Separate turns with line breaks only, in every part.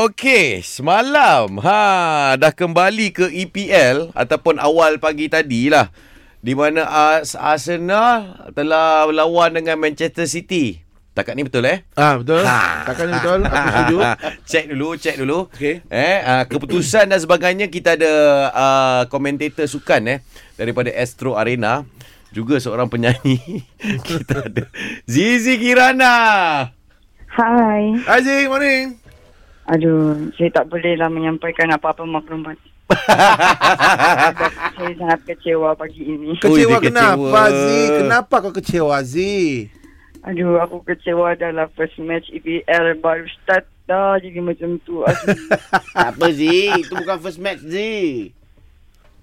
Okey, semalam ha dah kembali ke EPL ataupun awal pagi tadi lah di mana Ars- Arsenal telah lawan dengan Manchester City. Takat ni betul eh? Ha,
Ah betul. Takkan ni betul. Aku setuju.
check dulu, check dulu.
Okey.
Eh, uh, keputusan dan sebagainya kita ada uh, komentator sukan eh daripada Astro Arena juga seorang penyanyi. kita ada Zizi Kirana.
Hai.
Aziz, morning.
Aduh, saya tak bolehlah menyampaikan apa-apa maklumat. saya sangat kecewa pagi
Ui, dia
ini.
Kecewa
kecewa.
kenapa Aziz? Kenapa kau kecewa Aziz?
Aduh, aku kecewa dalam first match EPL baru start dah jadi macam tu. Aduh,
Tak apa Z Itu bukan first match Z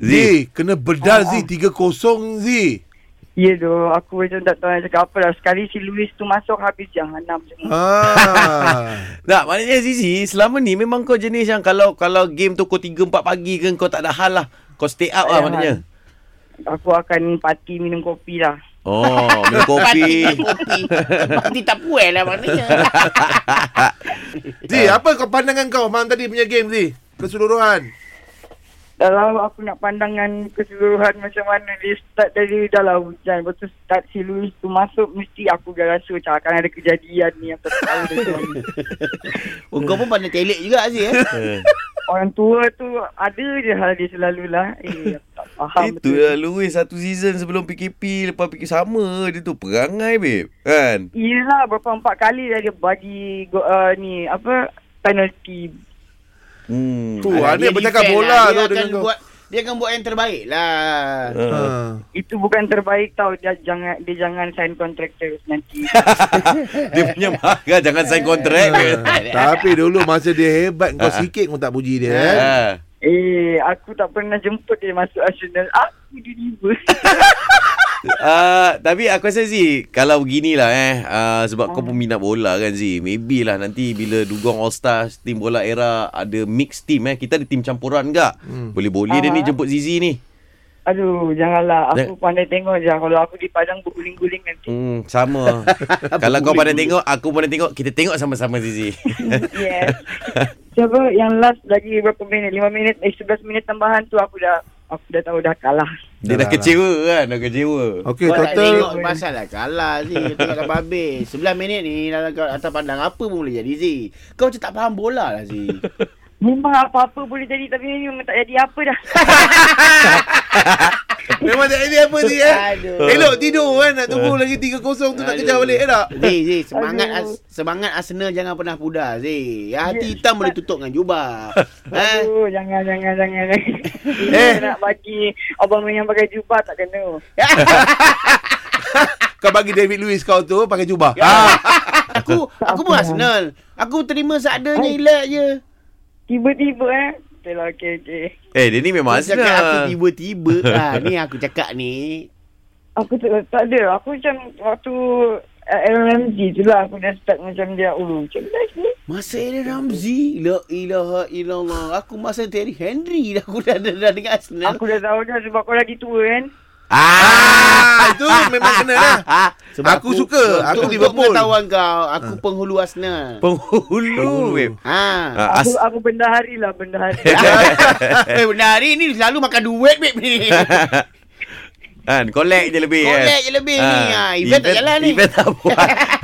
Z, kena bedal
Oh,
Z 3-0 Z.
ya doh, aku macam tak tahu nak cakap apa lah. Sekali si Luis tu masuk habis jahanam semua.
Ah.
Tak, maknanya Zizi, selama ni memang kau jenis yang kalau kalau game tu kau 3 4 pagi ke kau tak ada hal lah. Kau stay up
Tak
lah
ada
maknanya.
Aku akan parti minum kopi lah.
Oh, minum kopi.
Kopi Kopi tak puas lah maknanya
Z, apa kau pandangan kau malam tadi punya game Z? Keseluruhan.
Kalau lah, aku nak pandangan keseluruhan macam mana dia start dari dalam hujan. Lepas tu start si Luis tu masuk, mesti aku dah rasa macam akan ada kejadian ni yang tak tahu dah macam mana.
oh, Kau pun pandai telek juga Z eh?
Orang tua tu ada je hal dia selalulah. Eh, aku tak faham.
Itu lah Louis satu season sebelum PKP lepas PKP sama dia tu perangai babe. Kan?
Yelah, berapa empat kali dah dia bagi go, uh, ni, apa, penalty.
Hmm.
Tu ada
Ah, Dia
yang bercakap
defend
bola
lah.
tu
Dia
dengan
akan
kau.
buat Dia akan buat yang terbaik lah
Ha.
Uh.
Itu bukan terbaik tau. Dia jangan dia jangan sign contract terus nanti.
Dia punya marah jangan sign kontrak. babe.
Ah, Tapi dulu masa dia hebat kau sikit kau tak puji
Ah.
dia eh.
Ha.
eh, aku tak pernah jemput dia masuk Arsenal. Aku diriba.
Uh, tapi aku rasa Zee Kalau beginilah eh uh, Sebab kau pun minat bola kan Zee Maybe lah nanti bila Dugong All Stars Tim bola era Ada mix team eh Kita ada tim campuran gak hmm. Boleh-boleh uh-huh. dia ni jemput Zizi ni
Aduh, janganlah. Aku pandai tengok je. Kalau aku di Padang berguling-guling nanti.
hmm, Sama Kalau kau pandai tengok Aku pandai tengok Kita tengok sama-sama Zizi Hmm.
Yes. Siapa yang last lagi berapa minit? 5 minit, eh 11 minit tambahan tu aku dah aku dah tahu dah kalah.
Dia dah
Dah lah.
kecewa kan Dah kecewa
Okey,
Kau tak tengok
total
pasal lah kalah Z Kau tak dapat habis 9 minit ni dalam kau atas pandang apa pun boleh jadi Z Kau macam tak faham bola lah Z
Memang apa-apa boleh jadi tapi ini memang tak jadi apa dah.
memang tak ada apa Z eh.
Aduh.
Elok tidur kan nak tunggu lagi 3-0 tu nak kejar balik eh tak?
Z, Z, semangat as,
Aduh.
semangat Arsenal jangan pernah pudar Z Hati hitam boleh tutup dengan jubah Eh?
Aduh, jangan jangan jangan.
Eh.
eh nak bagi abang yang pakai jubah tak kena.
Kau bagi David Luiz kau tu pakai jubah.
Ya.
Ah.
Aku aku pun Arsenal. Aku terima seadanya elak je.
Tiba-tiba eh. Okay lah, okay, okay.
Eh dia ni memang
Kau cakap aku
Arsenal
tiba-tiba. ha, ni aku cakap ni.
Aku tak, tak ada. Aku macam waktu uh, LMG tu lah aku dah start macam dia ulu. Macam mana ni?
Masa Aaron Ramzi La ilaha illallah Aku masa Terry Henry dah Aku dah, dah, dah dengan Arsenal
Aku dah tahu dah sebab kau lagi tua kan.
Ah, itu memang kena lah. Aku suka. Aku
Untuk, untuk
Liverpool. Ah.
pengetahuan kau Aku penghulu Arsenal
Penghulu babe
Ha
Ah,
Aku
as-
aku benda hari lah benda hari.
Eh benar hari ni Selalu makan duit babe ni
Kan collect je lebih
Collect je lebih ni. Ah, event tak jalan ni.
Event tak buat